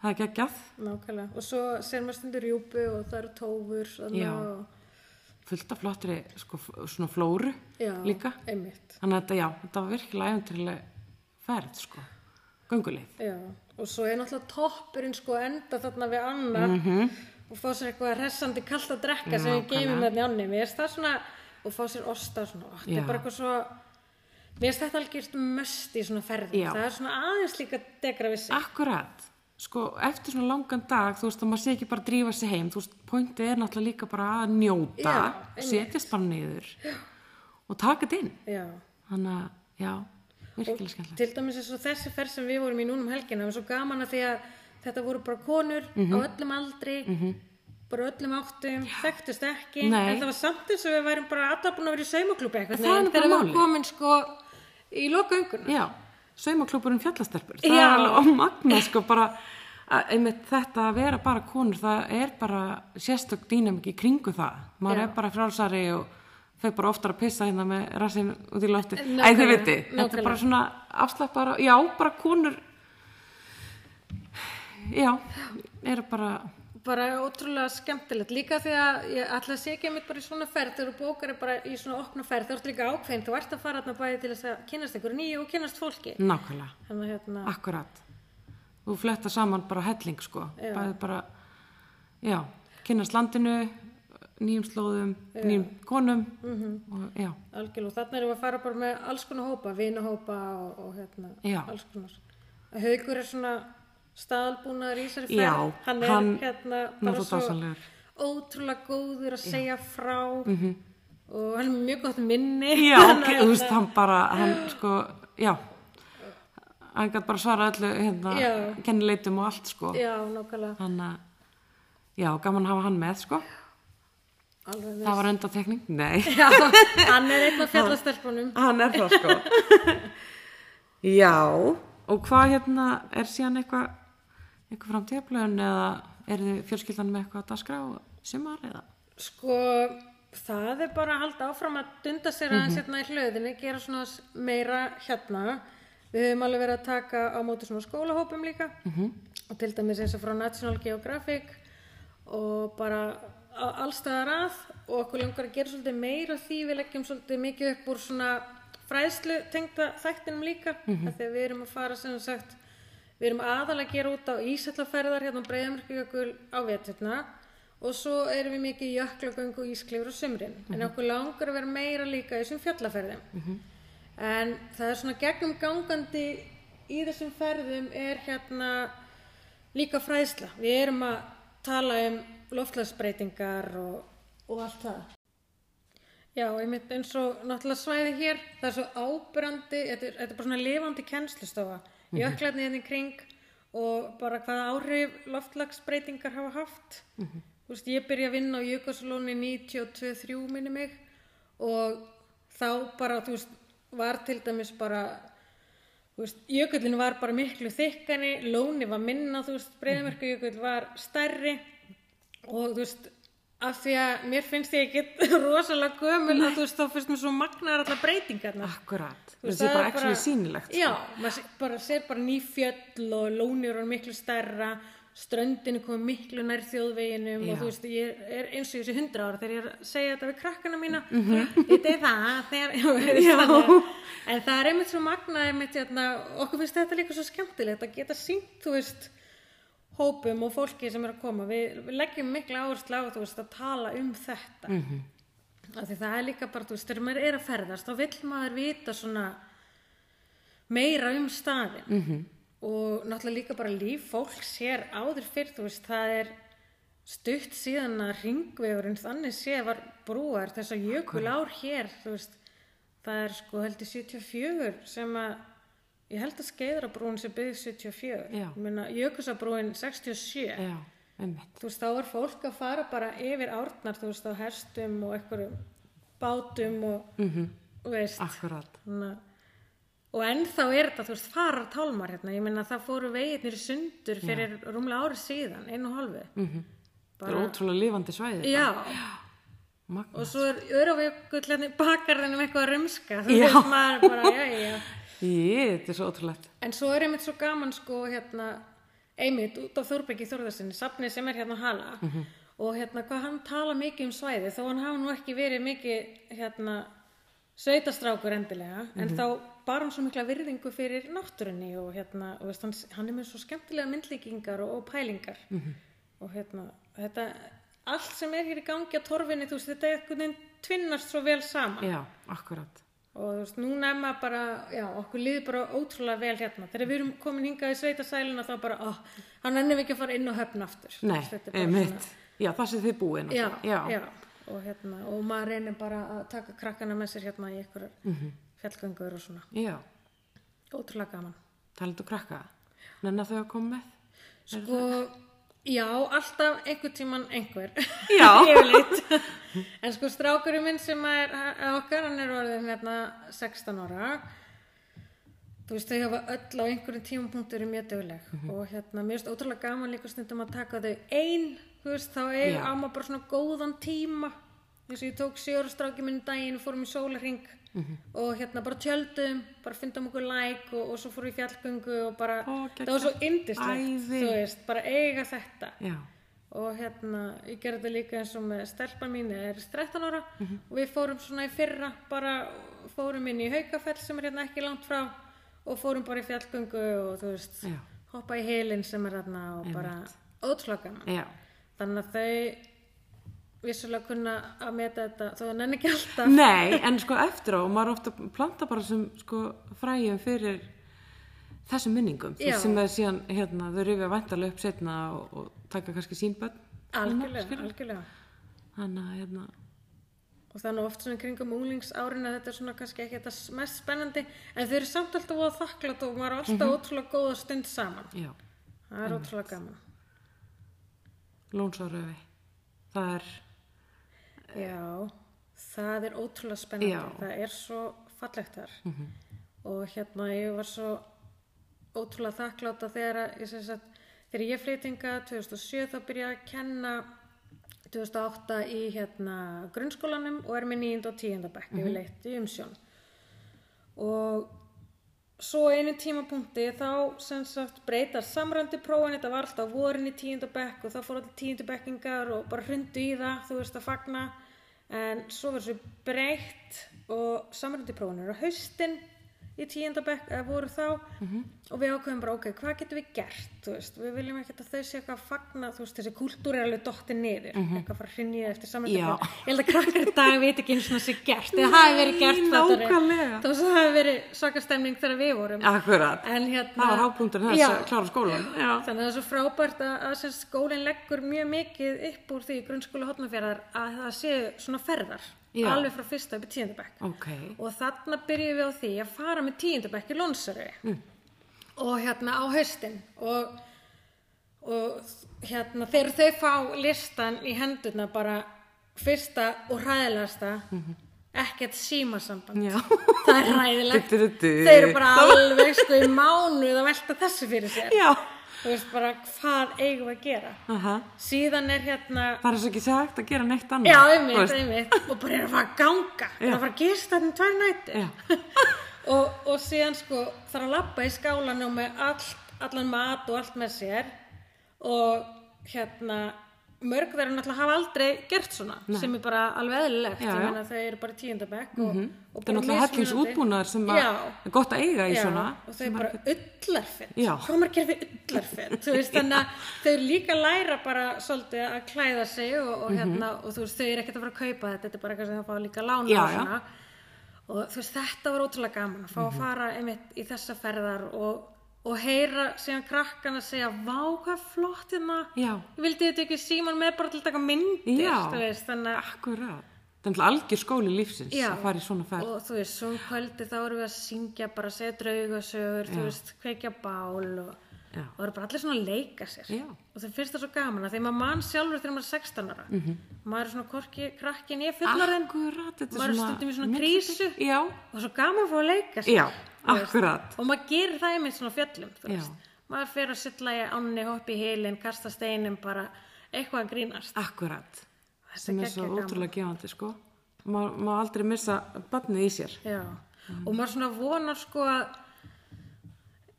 Speaker 1: það er geggjað
Speaker 2: Nákvæmlega, og svo sér maður stundur rjúpu og það eru tófur þarna
Speaker 1: Já.
Speaker 2: og,
Speaker 1: fullt af flottri, sko, f- svona flóru
Speaker 2: já,
Speaker 1: líka,
Speaker 2: einmitt
Speaker 1: þannig að þetta, já, þetta var virkilega æfintýrlega ferð, sko gönguleið,
Speaker 2: já. og svo er náttúrulega toppurinn sko að enda þarna við anna -hmm. og fá sér eitthvað hressandi kallt að drekka sem við
Speaker 1: Mhm. Nákvæmlega.
Speaker 2: geymum þarna í ánni mér er það svona, og fá sér osta svona, og þetta
Speaker 1: Já.
Speaker 2: er bara eitthvað svo mér er þetta algjört möst í svona ferðum
Speaker 1: Já.
Speaker 2: það er svona aðeins líka degra við sig
Speaker 1: Akkurat, sko, eftir svona langan dag, þú veist, að maður sé ekki bara að drífa sig heim, þú veist, pointið er náttúrulega líka bara að njóta,
Speaker 2: Já, einmitt.
Speaker 1: setjast bara niður og taka þetta inn.
Speaker 2: já,
Speaker 1: Þannig að, já, virkilega skemmtilegt.
Speaker 2: til dæmis eins og þessi ferð sem við vorum í núna um helgina það var svo gaman að því að þetta voru bara konur á
Speaker 1: Mhm.
Speaker 2: öllum aldri bara öllum áttum, þekktust ekki
Speaker 1: Nei.
Speaker 2: en það var samt eins og við værum bara allar búin að vera í saumaklúpi eitthvað
Speaker 1: Það er
Speaker 2: en
Speaker 1: nú bara
Speaker 2: þegar við
Speaker 1: málið.
Speaker 2: vorum komin sko í lokaunguna
Speaker 1: Já, saumaklúburinn fjallastelpur, það
Speaker 2: Já.
Speaker 1: er alveg ómagna, sko, bara, að, einmitt þetta að vera bara konur, það er bara sérstök dýnamik í kringu það. Maður
Speaker 2: Já.
Speaker 1: er bara frálsari og þau bara oftar að pissa hérna með rassin út í lofti. Æ,
Speaker 2: Nákvæmlega,
Speaker 1: þið viti, þetta er bara
Speaker 2: nákvæmlega.
Speaker 1: svona afslappara, já, bara konur, já, eru bara,
Speaker 2: bara ótrúlega skemmtilegt líka því að ég ætla að segja mig bara í svona ferð þegar þú bókar er bara í svona opna ferð þú ert líka ákveðin, þú ert að fara þarna bæði til þess að kynnast einhverju nýju og kynnast fólki
Speaker 1: nákvæmlega.
Speaker 2: þannig að hérna,
Speaker 1: Akkurat. Þú fletta saman bara helling sko.
Speaker 2: Já.
Speaker 1: Bæði bara, já, kynnast landinu, nýjum slóðum, nýjum konum og já,
Speaker 2: algjörlega og þarna erum við að fara bara með alls konar hópa, vinahópa og, og hérna,
Speaker 1: Já.
Speaker 2: alls konar Haugur er svona staðalbúnaður í þessari
Speaker 1: Já,
Speaker 2: ferð, hann er
Speaker 1: hann-
Speaker 2: hérna
Speaker 1: hann er
Speaker 2: bara
Speaker 1: svo dásamlegur. Mhm.
Speaker 2: ótrúlega góður að segja frá -hmm. og hann er með mjög gott minni
Speaker 1: já,
Speaker 2: Hann
Speaker 1: ok,
Speaker 2: er
Speaker 1: þú
Speaker 2: hérna-
Speaker 1: veist, hann bara, hann sko, já, hann gætt bara svara öllu, hérna,
Speaker 2: Já.
Speaker 1: kennileitum og allt, sko,
Speaker 2: Já, nákvæmlega,
Speaker 1: hann að, já, gaman að hafa hann með, sko, *laughs*
Speaker 2: alveg
Speaker 1: það var undatekning, nei.
Speaker 2: Já, hann er einn af fjallastelpunum
Speaker 1: Hann er það sko
Speaker 2: *laughs*
Speaker 1: Já Og hvað hérna, er síðan eitthvað eitthvað framtíðablöðun eða er þið fjölskyldan með eitthvað að dasgra og sumar eða?
Speaker 2: Sko, það er bara að halda áfram að dunda sér aðeins hérna í hlöðinni, gera svona s- meira hérna. Við höfum alveg verið að taka á móti svona skólahópum líka -hmm. og til dæmis eins og frá National Geographic og bara a- allstaðar að og okkur langar að gera svolítið meira af því við leggjum svolítið mikið upp úr svona fræðslu tengda þættinum líka mm -hmm. þegar við erum að fara sem sagt Við erum aðalega að gera út á ísallaferðar hérna á Breiðamörkjökul á veturna og svo erum við mikið í jöklagöngu og ísklifur á sumrin. En okkur langar að vera meira líka í þessum fjallaferðum. En það er svona gegnum gangandi í þessum ferðum er hérna líka fræðsla. Við erum að tala um loftlagsbreytingar og, og allt það. Já, einmitt eins og náttúrulega svæðið hér, það er svo ábyrrandi, þetta er, þetta er bara svona lifandi kennslustofa, jöklarni hérna í kring og bara hvaða áhrif loftlagsbreytingar hafa haft. Þú veist, ég byrja að vinna á Jökulsalóni 92-3 minni mig og þá bara, þú veist, var til dæmis bara, þú veist, jökullin var bara miklu þykkani, lóni var minna, þú veist, breyðmerku var stærri og þú veist af því að mér finnst ég ekki *laughs* rosalega gömul að þú veist þá finnst mér svo magnaðar allar breytingarna
Speaker 1: Akkurat,
Speaker 2: Þú
Speaker 1: það
Speaker 2: veist,
Speaker 1: sé
Speaker 2: það
Speaker 1: bara
Speaker 2: er
Speaker 1: ekki sýnilegt sko.
Speaker 2: já, maður sé, bara, sér bara ný fjöll og lónir og miklu stærra ströndin er komið miklu nær þjóðveginum
Speaker 1: Já.
Speaker 2: og þú veist, ég er eins og ég sé hundra ára þegar ég er að segja þetta við krakkana mína mm -hmm. ég deyð það þegar, *laughs* já,
Speaker 1: Mhm. Já.
Speaker 2: þannig, en það er einmitt svo magnað einmitt, hérna, okkur finnst þetta líka svo skemmtilegt að geta sínt, þú veist hópum og fólki sem er að koma við, við leggjum mikla áherslu á þú veist, að tala um þetta
Speaker 1: Mhm.
Speaker 2: mm -hmm. því það er líka bara, þú veist, þegar maður er að ferðast þá vill maður vita svona meira um staðin -hmm. og náttúrulega líka bara líf fólks hér áður fyrr, þú veist, það er stutt síðan að ringvegurinn þannig sé var brúar þess að jökul ár hér, þú veist það er sko held í 74 sem að ég held að skeiðrabrúin sem byggði 74
Speaker 1: Já.
Speaker 2: Ég meina, Jökulsabrúin 67
Speaker 1: Já, einmitt
Speaker 2: þú veist, þá var fólk að fara bara yfir árnar, þú veist, á hestum og einhverjum bátum og -hmm. veist
Speaker 1: Akkurat,
Speaker 2: svona, og ennþá er þetta, þú veist, farar tálmar hérna, ég meina það fóru veginir sundur fyrir rúmlega ári síðan, einu og hálfu mm -hmm.
Speaker 1: það er ótrúlega lifandi svæði
Speaker 2: já,
Speaker 1: Magna.
Speaker 2: og svo er öruvíkull hérna í bakarðinum eitthvað að rumska, þú
Speaker 1: Já.
Speaker 2: veist, maður bara, já, já, já
Speaker 1: Ég, þetta er svo ótrúlegt
Speaker 2: En svo er einmitt svo gaman sko hérna einmitt út af Þórbeki Þórðarsinni, safnið sem er hérna á Hala og hérna hvað hann tala mikið um svæði þó hann hafa nú ekki verið mikið hérna sveitastrákur endilega en þá bar hann svo mikla virðingu fyrir náttúrunni og hérna og veist, hann, hann er með svo skemmtilega myndlíkingar og, og pælingar og hérna þetta allt sem er hér í gangi að torfinni þú veist þetta er einhvern veginn tvinnast svo vel saman
Speaker 1: Já, akkurat
Speaker 2: og þú veist, núna er maður bara, já, okkur líður bara ótrúlega vel hérna, þegar við erum komin hingað í sveitasæluna þá bara, ó, hann ennum ekki að fara inn og höfn aftur
Speaker 1: Nei,
Speaker 2: Þetta er bara
Speaker 1: einmitt Já, það sé þið búin
Speaker 2: já, já.
Speaker 1: já.
Speaker 2: Og, hérna, og maður reynir bara að taka krakkana með sér hérna í einhverjar
Speaker 1: Mhm.
Speaker 2: fjallgöngur og svona,
Speaker 1: já.
Speaker 2: ótrúlega gaman
Speaker 1: Talendu krakka Nenna þau að koma með?
Speaker 2: sko, já, alltaf einhvern tíman einhver
Speaker 1: Já.
Speaker 2: *laughs* Yfirleitt. en sko strákurinn minn sem er að okkar, hann er orðin hérna 16 ára þú veist, þau hafa öll á einhverjum tímapunkturum mjög döguleg
Speaker 1: Mhm.
Speaker 2: og hérna, mér finnst ótrúlega gaman líka stundum að taka þau ein, þú veist, þá er
Speaker 1: Já.
Speaker 2: amma bara svona góðan tíma þess að ég tók sjóra stráki minn um daginn fórum í sólarring
Speaker 1: Mhm.
Speaker 2: og hérna bara tjöldum, bara fundum okkur læk og, og svo fórum við í fjallgöngu og bara
Speaker 1: Ó,
Speaker 2: það var svo indislegt,
Speaker 1: Æði.
Speaker 2: þú veist, bara eiga þetta
Speaker 1: Já,
Speaker 2: og hérna, ég gerði þetta líka eins og með stelpa mín er 13 ára og við fórum svona í fyrra bara fórum inn í Haukafell sem er hérna ekki langt frá og fórum bara í fjallgöngu og þú veist
Speaker 1: Já.
Speaker 2: hoppa í helin sem er hérna og bara ótrúlega gaman
Speaker 1: já,
Speaker 2: þannig að þau vissulega kunna að meta þetta þó að nenni ekki alltaf
Speaker 1: Nei, en sko eftir á, maður ofta planta bara sem sko fræjum fyrir þessum minningum því
Speaker 2: Já.
Speaker 1: sem það síðan, hérna, þau rifja væntalega upp setna og, og taka kannski sínbönn
Speaker 2: algjörlega, algjörlega
Speaker 1: Þannig að, hérna,
Speaker 2: og það er nú oft svona kringum unglingsárin að þetta er svona kannski ekki þetta mest spennandi en þau eru samt alltaf að þakklátt og maður er alltaf ótrúlega góða stund saman
Speaker 1: já,
Speaker 2: það er ótrúlega gaman
Speaker 1: lónsáröfi Það er,
Speaker 2: Já, það er ótrúlega spennandi.
Speaker 1: Já.
Speaker 2: Það er svo fallegt þar. Og hérna, ég var svo ótrúlega þakkláta þegar, að- ég sem sagt, þegar ég flytinga 2007 þá byrja ég að kenna 2008 í hérna grunnskólanum og er með 9. og 10. bekk yfirleitt í umsjón. Og svo einu tímapunkti þá sem sagt breytar samrændi prófin þetta var alltaf á vorin í tíunda bekk og þá fór allir tíundu bekkingar og bara hrundu í það þú veist að fagna en svo verður svo breytt og samrændi prófin eru á haustin í tíunda bekk eða voru þá
Speaker 1: Mhm.
Speaker 2: og við ákveðum bara ok, hvað getum við gert þú veist, við viljum ekkert að þau sé eitthvað að fagna þú veist, þessi kultúr er alveg dottin niður eitthvað að fara að hrinja eftir samrændi
Speaker 1: Mhm. Já.
Speaker 2: prófin ég held að krakkar í dag veit ekki eins og það sé gert eða hafi verið gert
Speaker 1: Nei,
Speaker 2: fattarðu.
Speaker 1: nákvæmlega.
Speaker 2: Þó svo hafi verið svaka stemning þegar við vorum.
Speaker 1: akkurat
Speaker 2: En hérna...
Speaker 1: Það var hápunktur þess
Speaker 2: Já.
Speaker 1: að klára skólan Já,
Speaker 2: Þannig að það er svo frábært að, að sem sagt skólinn leggur mjög mikið upp úr því í grunnskóla hotnafjörðar að það séu svona ferðar.
Speaker 1: Já.
Speaker 2: Alveg frá fyrsta upp í tíundabæk.
Speaker 1: ok
Speaker 2: Og þarna byrjum við á því að fara með tíundabæk í Lónsaröfi. Og hérna á haustin. Og, og hérna þegar þau fá listan í hendurna bara fyrsta og hræðilegasta ekkert símasamband
Speaker 1: Já,
Speaker 2: það er ræðilegt
Speaker 1: Du, du, du.
Speaker 2: þeir eru bara alveg sko í mánuð að velta þessu fyrir sér
Speaker 1: já
Speaker 2: þú veist bara hvað eigum við að gera
Speaker 1: Aha.
Speaker 2: síðan er hérna
Speaker 1: Það er svo ekki sagt að gera neitt annað
Speaker 2: já,
Speaker 1: þú
Speaker 2: einmitt,
Speaker 1: veist.
Speaker 2: einmitt og bara er að fara að ganga er að fara að gista þetta um tvær
Speaker 1: Já.
Speaker 2: nættir *laughs* og, og síðan sko þarf að labba í skálanum með all, allan mat og allt með sér og hérna mörg þeirra náttúrulega hafa aldrei gert svona sem er bara alveg eðlilegt
Speaker 1: Já,
Speaker 2: ég
Speaker 1: já.
Speaker 2: meina þau eru bara í tíundabæk og, og
Speaker 1: Það er
Speaker 2: bara
Speaker 1: náttúrulega hellins
Speaker 2: mismunandi.
Speaker 1: útbúnaðar sem að
Speaker 2: Já.
Speaker 1: er gott að eiga í
Speaker 2: Já,
Speaker 1: svona
Speaker 2: og þau bara ullarfett
Speaker 1: Já.
Speaker 2: hvað maður gerði ullarfett þú veist þannig
Speaker 1: *laughs*
Speaker 2: að þau líka læra bara svolítið að klæða sig og, og,
Speaker 1: Mhm.
Speaker 2: hérna, og þú veist þau eru ekkert að fara að kaupa þetta þetta er bara eitthvað sem þau fá líka lána
Speaker 1: Já, Mhm. já.
Speaker 2: og svona og þú veist þetta var ótrúlega gaman að fá að fara einmitt í þessa ferðar og, og heyra síðan krakkana segja vá hvað flott hérna
Speaker 1: Já.
Speaker 2: ég vildi þetta ekki síman með bara til að taka myndir
Speaker 1: Já.
Speaker 2: þú veist þannig að
Speaker 1: Akkurat. Það er náttúrulega algjör skóli lífsins
Speaker 2: Já.
Speaker 1: að fara í svona ferð.
Speaker 2: og þú veist, svo um kvöldi þá erum við að syngja bara að segja draugasögur, þú veist, kveikja bál og,
Speaker 1: Já.
Speaker 2: og eru bara allir svona að leika sér
Speaker 1: Já.
Speaker 2: og það finnst það svo gaman að því maður mann sjálfur þegar maður er 16 ára
Speaker 1: Mhm.
Speaker 2: -hmm. maður er svona korki krakkin ég fullorðin
Speaker 1: Akkurat, þetta er
Speaker 2: Hérna Maður er stundum í svona krísu.
Speaker 1: milli- Já,
Speaker 2: og svo gaman að fá að leika
Speaker 1: Ah.
Speaker 2: sér
Speaker 1: já,
Speaker 2: þú veist.
Speaker 1: akkurat.
Speaker 2: og maður gerir það einmitt svona á fjöllum þú
Speaker 1: Já.
Speaker 2: veist, maður fer að silla í ánni hoppa í heilin, kasta steinum bara eitthvað að grínast
Speaker 1: Ah. Akkurat.
Speaker 2: Þetta
Speaker 1: Sem er
Speaker 2: geggjað
Speaker 1: svo
Speaker 2: gaman.
Speaker 1: ótrúlega gefandi, sko. Má, má aldrei missa barnið í sér.
Speaker 2: Já,
Speaker 1: Mm.
Speaker 2: og maður svona vonar sko að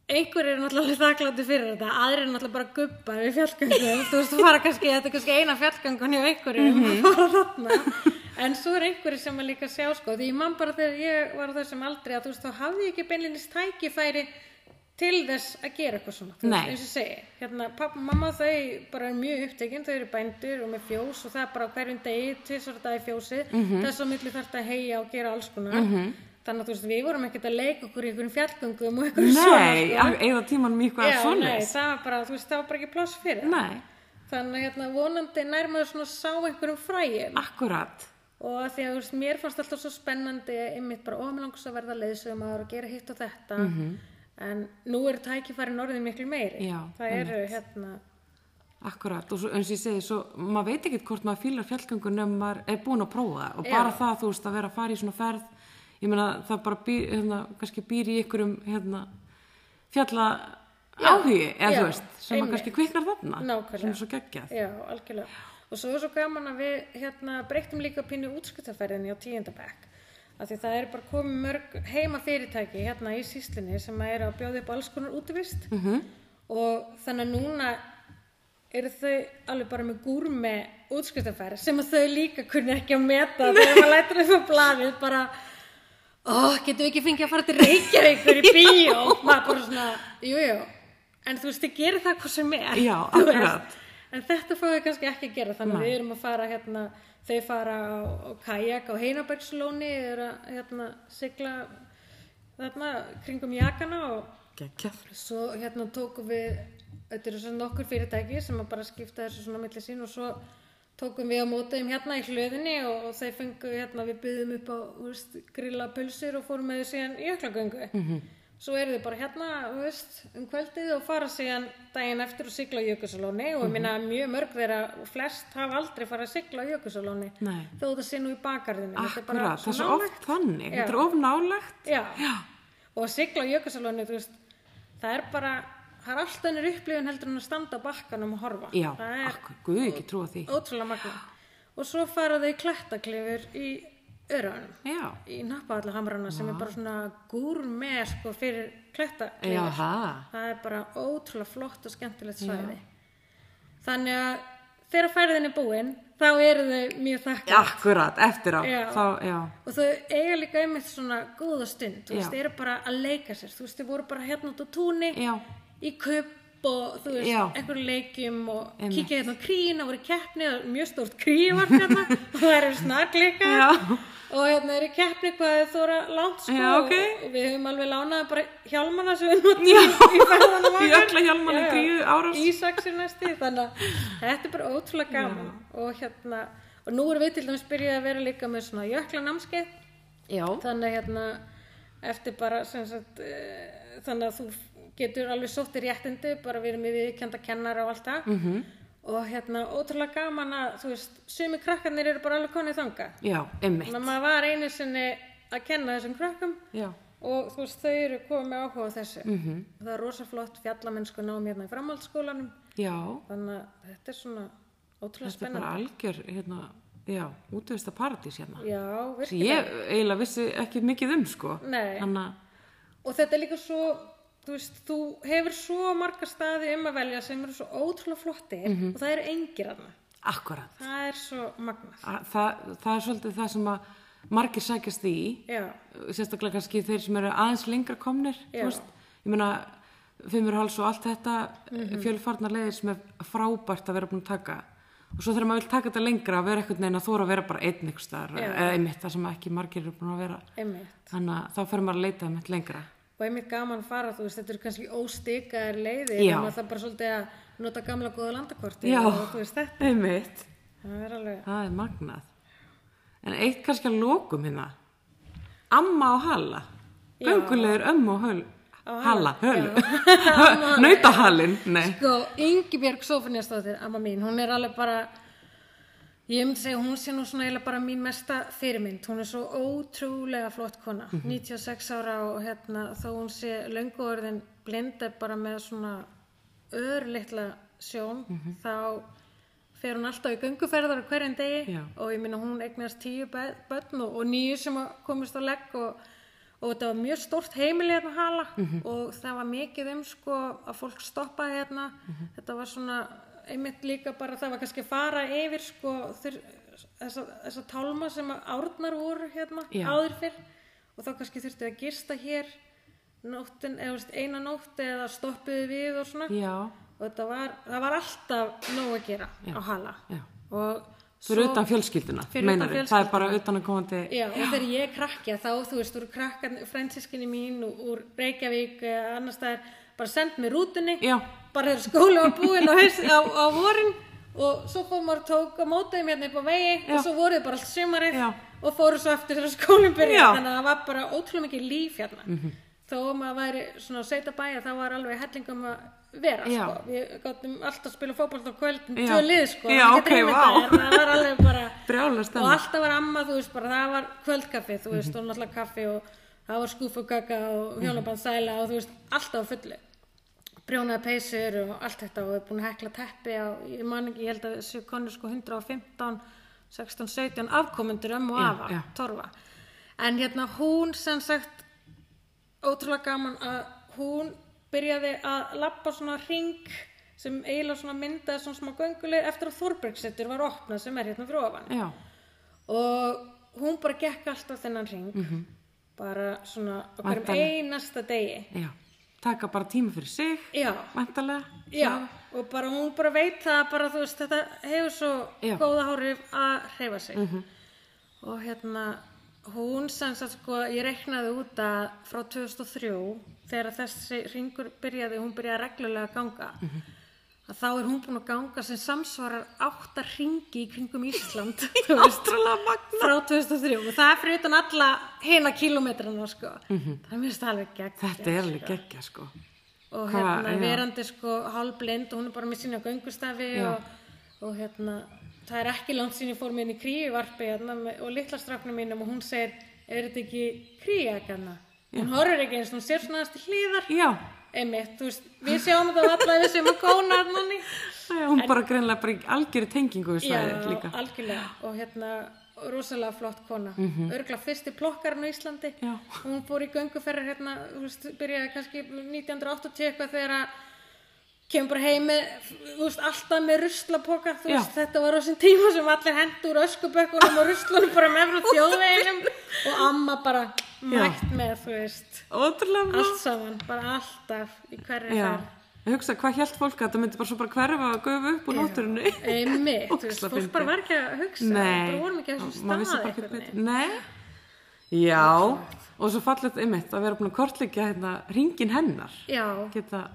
Speaker 2: einhverjir eru náttúrulega þakklátti fyrir þetta, aðrir eru náttúrulega bara gubbar við fjallgöngum, þú veist, þú fara kannski, þetta er kannski eina fjallgöngun hjá einhverjum
Speaker 1: Mhm.
Speaker 2: að fara þarna, en svo er einhverjir sem að líka sjá sko, því ég man bara þegar ég var á þessum aldri að þú veist, þá hafði ég ekki beinlinnist tækifæri til þess að gera eitthvað svona, þú
Speaker 1: Nei.
Speaker 2: veist, eins og ég segi, hérna, pappa, mamma þau bara er mjög upptekin, þau eru bændur og með fjós og það er bara á hverjum degi, tvisvar á dag í fjósið,
Speaker 1: Mhm.
Speaker 2: þess að milli þarf að heia og gera alls konar, þannig að þú veist, við vorum ekkert að leika okkur í einhverjum fjallgöngum og einhverjum
Speaker 1: Nei,
Speaker 2: svona,
Speaker 1: að- eigða tímanum í eitthvað
Speaker 2: Já, nei,
Speaker 1: svoleiðis.
Speaker 2: það var bara, þú veist, það var bara ekki pláss fyrir það.
Speaker 1: Nei,
Speaker 2: þannig að hérna, vonandi nærmaður svona sá einhverjum fræjum
Speaker 1: akkurat.
Speaker 2: og að því að þú veist, mér fannst alltaf svo spennandi einmitt bara ómilangst að verða leiðsögumar og gera hitt og þetta en nú eru tækifærin orðin miklu meiri
Speaker 1: Mhm. Já,
Speaker 2: það eru hérna
Speaker 1: Akkurat, og svo, eins og ég segi, svo, maður veit ekkert hvort maður fýlar fjallgöngu nefnum maður er búin að prófa það og bara
Speaker 2: Já.
Speaker 1: það, þú veist, að vera að fara í svona ferð, ég meina, það bara býr, hérna, kannski býr í ykkurum, hérna, fjalla áhugi, eða
Speaker 2: já,
Speaker 1: þú veist, sem maður
Speaker 2: einmitt.
Speaker 1: kannski kviknar þarna,
Speaker 2: Nákvæmlega.
Speaker 1: sem er svo geggjað.
Speaker 2: já, algjörlega og svo er svo gaman að við hérna, breyttum líka pínu útskiptaferðinni á tíundabæk af því það er bara komið mörg heima fyrirtæki hérna í síslinni sem er að bjóða upp alls konar útivist -hmm. og þannig að núna eru þau alveg bara með gúrme útskiptaferð sem að þau líka kunni ekki að meta þegar maður lætur upp á blaðið bara ó, getum við ekki fengið að fara til Reykjavíkur *laughs* í bíó maður bara svona, jújú jú. en þú veist, þið gerir það hvað sem er
Speaker 1: Já,
Speaker 2: þú veist.
Speaker 1: akkurat.
Speaker 2: en þetta fáum við kannski ekki að gera þannig
Speaker 1: Nei.
Speaker 2: við erum að fara hérna þau fara á, á kajak á Heinabergslóni eru að hérna sigla þarna kringum jakana og
Speaker 1: Gekjað.
Speaker 2: svo hérna tókum við þetta eru svona nokkur fyrirtæki sem að bara skipta þessu svona milli sín og svo tókum við á mótiðum hérna í hlöðinni og, og þeir fengu hérna, við byggðum upp á þú veist, grilla pulsur og fórum með þau síðan í öklagöngu -hmm.
Speaker 1: Mhm.
Speaker 2: svo eru þau bara hérna þú veist, um kvöldið og fara síðan daginn eftir og sigla á jökusalóni
Speaker 1: Mhm.
Speaker 2: og ég minna mjög mörg þeirra og flest hafa aldrei fara að sigla á jökusalóni
Speaker 1: Nei.
Speaker 2: þó það sé nú í bakarðinu Þetta er bara
Speaker 1: Akkurat, það
Speaker 2: svo
Speaker 1: er svo
Speaker 2: nálægt.
Speaker 1: oft þannig.
Speaker 2: Já.
Speaker 1: Þetta er of nálegt.
Speaker 2: Já. Og að sigla á jökulsalóni, þú veist, það er bara, það er allt önnur upplifun heldur en að standa á bakkanum og horfa.
Speaker 1: Já,
Speaker 2: það er
Speaker 1: akkur, guð ég ekki trúa því.
Speaker 2: ótrúlega magna. Og svo fara þau í klettaklifur í öraunum,
Speaker 1: Já,
Speaker 2: í nappahallahamrana sem er bara svona gúrmeð sko fyrir klettaklifur.
Speaker 1: já, það.
Speaker 2: Það er bara ótrúlega flott og skemmtilegt svæði. Þannig að þegar færðin er búin, þá eru þau mjög þakkar.
Speaker 1: Akkurat, eftir á.
Speaker 2: Já.
Speaker 1: Þá, já.
Speaker 2: og þau eiga líka einmitt svona góða stund, þú
Speaker 1: Já.
Speaker 2: veist, þau eru bara að leika sér þú veist, þau voru bara hérna út á túni
Speaker 1: Já.
Speaker 2: í kupp og þú veist,
Speaker 1: Já.
Speaker 2: einhverju leikjum og
Speaker 1: Einmitt.
Speaker 2: kíkja hérna á kríin, það voru í keppni það er mjög stórt kríi var
Speaker 1: *laughs*
Speaker 2: hérna og það eru snarklika
Speaker 1: Já.
Speaker 2: og hérna eru í keppni hvað þau þóra langt sko
Speaker 1: Já, ok.
Speaker 2: og við höfum alveg lánað bara hjálmana sem við notum
Speaker 1: Já.
Speaker 2: í ferðanum okkar.
Speaker 1: Jöklahjálmana í
Speaker 2: Já, já.
Speaker 1: kríu árás.
Speaker 2: ísaxir næsti þannig að þetta er bara ótrúlega gaman og hérna og nú erum við til dæmis byrjuð að vera líka með svona jöklanámskeið
Speaker 1: Já.
Speaker 2: þannig að hérna eftir bara sem sagt eh, þannig að þú getur alveg sótt í réttindi bara við erum í viðkjönda kennara og allt það
Speaker 1: Mhm.
Speaker 2: -hmm. og hérna ótrúlega gaman að þú veist, sumi krakkarnir eru bara alveg konið þanga
Speaker 1: Já, emmi.
Speaker 2: þannig að maður var einu sinni að kenna þessum krakkum
Speaker 1: Já.
Speaker 2: og þú veist, þau eru komið með áhuga á þessu
Speaker 1: Mhm.
Speaker 2: -hmm. það er rosa flott fjallamennsku nám hérna í framhaldsskólanum
Speaker 1: Já,
Speaker 2: þannig að þetta er svona ótrúlega
Speaker 1: þetta er bara
Speaker 2: spennandi
Speaker 1: algjör, hérna, já, útvista paradís hérna.
Speaker 2: já,
Speaker 1: Sem
Speaker 2: virkilega
Speaker 1: ég eiginlega vissi ekki mikið um, sko.
Speaker 2: Nei.
Speaker 1: Þannig að,
Speaker 2: og þetta er líka svo þú veist, þú hefur svo marga staði um að velja sem eru svo ótrúlega flotti
Speaker 1: Mhm.
Speaker 2: og það eru engir aðna
Speaker 1: akkurat.
Speaker 2: það er svo magnað
Speaker 1: Að Það, það er svolítið það sem að margir sækjast í,
Speaker 2: já,
Speaker 1: sérstaklega kannski þeir sem eru aðeins lengra komnir,
Speaker 2: Já.
Speaker 1: þú veist, ég meina, fimmurháls og allt þetta,
Speaker 2: Mhm.
Speaker 1: mm fjölfarnar leiðir sem er frábært að vera búin að taka og svo þegar maður vil taka þetta lengra að vera eitthvað neina þóra að vera bara einn ykkur staðar,
Speaker 2: Já.
Speaker 1: eða einmitt það sem ekki margir eru búin að vera,
Speaker 2: einmitt
Speaker 1: þannig að þá fer maður að leita einmitt lengra.
Speaker 2: og einmitt gaman að fara, þú veist, þetta eru kannski óstikaðar leiðir,
Speaker 1: Já.
Speaker 2: þannig að það er bara svolítið að nota gamla góða landakorti
Speaker 1: Já.
Speaker 2: og þú veist þetta,
Speaker 1: Einmitt.
Speaker 2: það er alveg
Speaker 1: Það er magnað. En eitt kannski að lokum hérna, amma og halla,
Speaker 2: Já.
Speaker 1: göngulegur ömmu og höl,
Speaker 2: Á
Speaker 1: halla, höl, *laughs*
Speaker 2: Amma og-
Speaker 1: nautahallin, nei.
Speaker 2: Sko, Ingibjörg Sofnjastóttir, amma mín, hún er alveg bara, ég myndi segja, hún sé nú svona eiginlega bara mín mesta fyrirmynd. Hún er svo ótrúlega flott kona,
Speaker 1: Mhm.
Speaker 2: 96 ára og hérna, þó hún sé löngu orðin blind er bara með svona örlitla sjón,
Speaker 1: Mhm.
Speaker 2: þá fer hún alltaf í gönguferðar á hverjum degi
Speaker 1: Já.
Speaker 2: og ég minna hún eignast tíu bö- börn og, og nýju sem að komist á legg og, og þetta var mjög stórt heimili hérna á hala
Speaker 1: Mhm.
Speaker 2: og það var mikið um sko að fólk stoppaði hérna
Speaker 1: Mhm.
Speaker 2: þetta var svona einmitt líka bara það var kannski að fara yfir sko þur, þessa, þessa tálma sem að árnar voru hérna
Speaker 1: Já.
Speaker 2: áður fyrr og þá kannski þurftu að gista hér nóttin, eða þú veist, eina nótt eða stoppuðu við og svona
Speaker 1: Já,
Speaker 2: og þetta var, það var alltaf nóg að gera á hala
Speaker 1: já.
Speaker 2: og
Speaker 1: Fyrir utan fjölskylduna,
Speaker 2: Fyrir utan
Speaker 1: meinar þið, það er bara utan að komandi,
Speaker 2: Já, og þegar ég er krakki að þá, þú veist, úr krakkan, fransískinni mín og úr Reykjavík eða annar staðar, bara send mér rútunni,
Speaker 1: Já.
Speaker 2: bara þegar skóla var búin á, haust, á, á vorin og svo fór maður og tók á mótum hérna upp á vegi
Speaker 1: Já.
Speaker 2: og svo voruð bara allt sumarið
Speaker 1: Já.
Speaker 2: og fóru svo aftur þegar skólinn byrjaði,
Speaker 1: Já. Mhm.
Speaker 2: þannig að það var bara ótrúlega mikið líf hérna. -hmm. Þó að maður væri svona á sveita bæja, þá var alveg hellingum að vera,
Speaker 1: Já.
Speaker 2: sko. Við gáttum alltaf að spila fótbolta á kvöldin,
Speaker 1: Já.
Speaker 2: tvö lið, sko.
Speaker 1: Já,
Speaker 2: Þú getur
Speaker 1: ok,
Speaker 2: ímyndað
Speaker 1: vá.
Speaker 2: þér, Það var alveg bara
Speaker 1: brjálega
Speaker 2: og
Speaker 1: stemma.
Speaker 2: alltaf var amma, þú veist, bara það var kvöldkaffi, þú veist, og náttúrulega kaffi og það var skúfugaka
Speaker 1: Mhm.
Speaker 2: og hjónabandsæla og þú veist, alltaf á fullu brjónaði peysur og allt þetta og við erum búin að hekla teppi og ég man ekki, ég held að þessu konu sko 115 16, 17 afkomendur ömmu og
Speaker 1: Já,
Speaker 2: afa,
Speaker 1: já.
Speaker 2: torfa en hérna hún sem sagt ótrúlega gaman að hún byrjaði að lappa svona ring sem eiginlega svona myndaði svona smá gönguleg eftir að Þorbergsettur var opnað sem er hérna fyrir ofan
Speaker 1: Já,
Speaker 2: og hún bara gekk alltaf þennan ring bara svona á hverjum
Speaker 1: Mhm. Væntanlega.
Speaker 2: einasta degi
Speaker 1: já, taka bara tíma fyrir sig,
Speaker 2: já,
Speaker 1: mæntalega.
Speaker 2: já og og bara hún bara veit það bara þú veist þetta hefur svo
Speaker 1: Já. Mhm.
Speaker 2: góða hárif að hreyfa sig og hérna hún sem sagt sko ég reiknaði út að frá 2003 þegar þessi ringur byrjaði hún byrjaði reglulega að ganga
Speaker 1: Mhm.
Speaker 2: að þá er hún búin að ganga sem samsvarar átta ringi í kringum Ísland *laughs* þú veist
Speaker 1: Ótrúlega magna.
Speaker 2: frá 2003 og það er fyrir utan alla hina kilometrana sko það minnst alveg gegn
Speaker 1: Mhm. Þetta er alveg geggja sko.
Speaker 2: og
Speaker 1: Hvað,
Speaker 2: hérna
Speaker 1: já.
Speaker 2: verandi sko hálblind og hún er bara með sína göngustafi
Speaker 1: Já.
Speaker 2: og, og hérna það er ekki langt sín ég fór með henni í kríuvarpi hérna, með- og litla stráknum mínum og hún segir er þetta ekki kríak hérna hún horfir ekki eins og hún sér svona aðeins til hliðar
Speaker 1: Já,
Speaker 2: einmitt, þú veist, við sjáum þetta allavega við séum að kóna hérna
Speaker 1: já, hún bara greinlega bara í algjöru tengingu við svæðið líka.
Speaker 2: algjörlega og hérna rosalega flott kona mm -hmm. örgla fyrsti plokkarinn á Íslandi
Speaker 1: Mhm. Já.
Speaker 2: hún fór í gönguferðar hérna þú veist, byrjaði kannski 1980 eitthvað þegar að kemur bara heim með þú veist, alltaf með ruslapoka þú
Speaker 1: Já.
Speaker 2: veist, þetta var á þessum tíma sem allir hendur úr öskubökkunum og ruslunum bara
Speaker 1: *laughs*
Speaker 2: með frá þjóðveginum og amma bara mætt með þú veist
Speaker 1: Ótrúlega magna.
Speaker 2: allt saman, bara alltaf í hverju
Speaker 1: Já, ég hugsa hvað hjælt fólk að þetta myndi bara svo bara hverfa og gufa upp úr náttúrunni.
Speaker 2: einmitt, þú veist,
Speaker 1: Ógeðslega
Speaker 2: fólk bara
Speaker 1: fyndið.
Speaker 2: var ekki að hugsa bara vorum ekki að þessum
Speaker 1: maður vissi
Speaker 2: stað
Speaker 1: bara ekkert
Speaker 2: einhvern veginn.
Speaker 1: betur. Nei, já, og svo fallegt einmitt að vera búin að kortleggja hérna ringin hennar.
Speaker 2: já,
Speaker 1: Geta,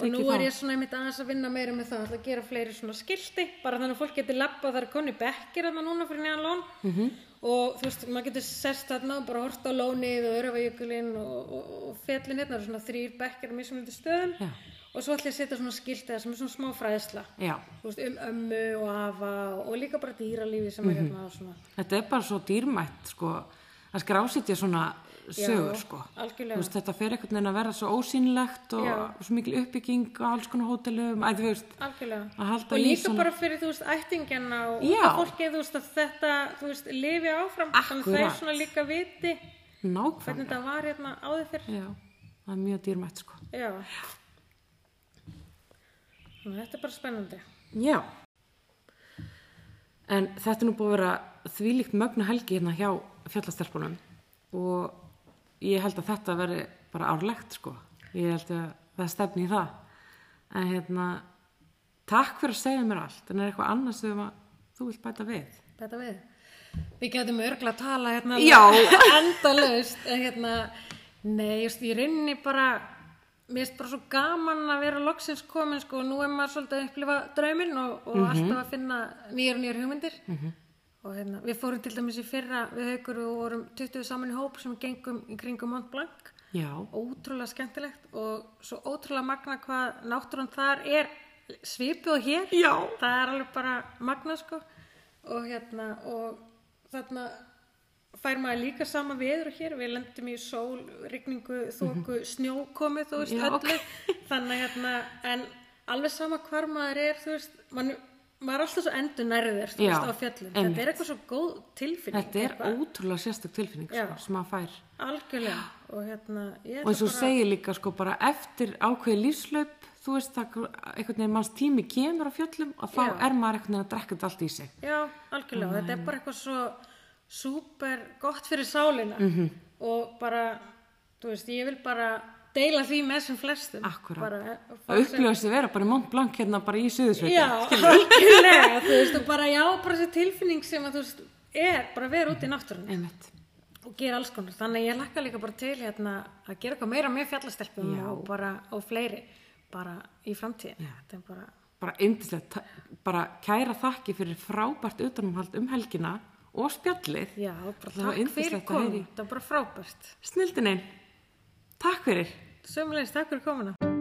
Speaker 2: og nú
Speaker 1: tekið
Speaker 2: er
Speaker 1: þá.
Speaker 2: ég svona einmitt aðeins að vinna meira með það ætla að gera fleiri svona skilti bara þannig að fólk getur labbað þar konni bekkir þarna núna fyrir neðan lón
Speaker 1: Mhm.
Speaker 2: -hmm. og þú veist, maður getur sest þarna og bara horft á lónið og örfajökulinn og, og, og fjallin hérna, það eru svona þrýr bekkir á mismunandi stöðum
Speaker 1: Já.
Speaker 2: og svo ætla ég að setja svona skilti sem er svona smá fræðsla
Speaker 1: já,
Speaker 2: Þú veist, um ömmu og afa og, og líka bara dýralífi sem
Speaker 1: Mhm.
Speaker 2: er hérna og svona
Speaker 1: þetta er bara svo dýrmætt, sko, að skrásitja svona sögur,
Speaker 2: Já,
Speaker 1: sko.
Speaker 2: algjörlega.
Speaker 1: Þú veist, þetta fer einhvern veginn að vera svo ósýnilegt og
Speaker 2: Já.
Speaker 1: svo mikil uppbygging og alls konar hótelum, að þú veist,
Speaker 2: Algjörlega.
Speaker 1: Að halda
Speaker 2: Og
Speaker 1: í
Speaker 2: líka
Speaker 1: svona-
Speaker 2: bara fyrir, þú veist, ættingina og
Speaker 1: Já.
Speaker 2: unga fólkið, þú veist, að þetta, þú veist, lifi áfram. Þannig að
Speaker 1: Akkúrat.
Speaker 2: þeir svona líka viti hvernig
Speaker 1: nákvæmlega.
Speaker 2: þetta var hérna áður fyrr.
Speaker 1: Já, það er mjög dýrmætt, sko.
Speaker 2: Já. Þannig að þetta er bara spennandi.
Speaker 1: Já. En þetta er nú búið að vera þvílíkt mögnu helgi hérna hjá fjallastelpunum og ég held að þetta veri bara árlegt sko. Ég held að það stefni í það. En hérna, takk fyrir að segja mér allt. En er eitthvað annað sem að þú vilt bæta við?
Speaker 2: Þetta við. Við getum örgla að tala hérna
Speaker 1: Já.
Speaker 2: *laughs* endalaust. En hérna, nei, just, ég rinni bara, mér erst bara svo gaman að vera loksins komin sko og nú er maður svolítið að upplifa drauminn og,
Speaker 1: Mhm.
Speaker 2: og alltaf að finna nýjar og nýjar hugmyndir. -hmm. Og hérna, við fórum til dæmis í fyrra, við haukur og vorum 20 saman í hóp sem gengum í kringum Mont Blanc.
Speaker 1: Já,
Speaker 2: Ótrúlega skemmtilegt og svo ótrúlega magna hvað náttúran þar er svipu og hér
Speaker 1: Já.
Speaker 2: það er alveg bara magna sko og hérna og þarna fær maður líka sama veður og hér við lendum í sól, rigningu, þóku snjókomi, þú veist,
Speaker 1: Mhm. Já,
Speaker 2: öllu þannig að hérna, en alveg sama hvar maður er, þú veist man, maður er alltaf svo endur nærður þú
Speaker 1: Já,
Speaker 2: veist, á fjöllum,
Speaker 1: einmitt.
Speaker 2: þetta er eitthvað svo góð tilfinning,
Speaker 1: þetta er
Speaker 2: eitthvað.
Speaker 1: ótrúlega sérstök tilfinning
Speaker 2: Já.
Speaker 1: sko, sem að fær.
Speaker 2: algjörlega og hérna, ég
Speaker 1: Og eins
Speaker 2: ætla
Speaker 1: og segir líka sko bara eftir ákveði lífslaup, þú veist að einhvern veginn manns tími kemur á fjöllum og þá
Speaker 2: Já.
Speaker 1: er maður einhvern veginn að drekka þetta allt í sig.
Speaker 2: Já, algjörlega, þetta er bara eitthvað svo súper gott fyrir sálina
Speaker 1: Mhm.
Speaker 2: -hmm. og bara, þú veist, ég vil bara deila því með sem flestum
Speaker 1: Akkúrat.
Speaker 2: bara, eh,
Speaker 1: að upplifa sig vera bara í Mont Blanc hérna bara í Suðursveitin
Speaker 2: Já, algjörlega, þú veist, og bara já, bara þessi tilfinning sem að þú veist er bara að vera út í náttúrunni
Speaker 1: einmitt,
Speaker 2: og gera alls konar, þannig að ég lakka líka bara til hérna að gera eitthvað meira með fjallastelpum
Speaker 1: Já.
Speaker 2: og bara, og fleiri bara í framtíðin,
Speaker 1: Já.
Speaker 2: þetta er bara
Speaker 1: bara yndislegt Ta- bara kæra þakki fyrir frábært utanumhald um helgina og spjallið
Speaker 2: Já, bara
Speaker 1: Það var
Speaker 2: takk fyrir
Speaker 1: yndislegt að heyra
Speaker 2: komin,
Speaker 1: í.
Speaker 2: þetta var bara frábært
Speaker 1: snildin einn, takk fyrir
Speaker 2: Sömulegist, takk fyrir komuna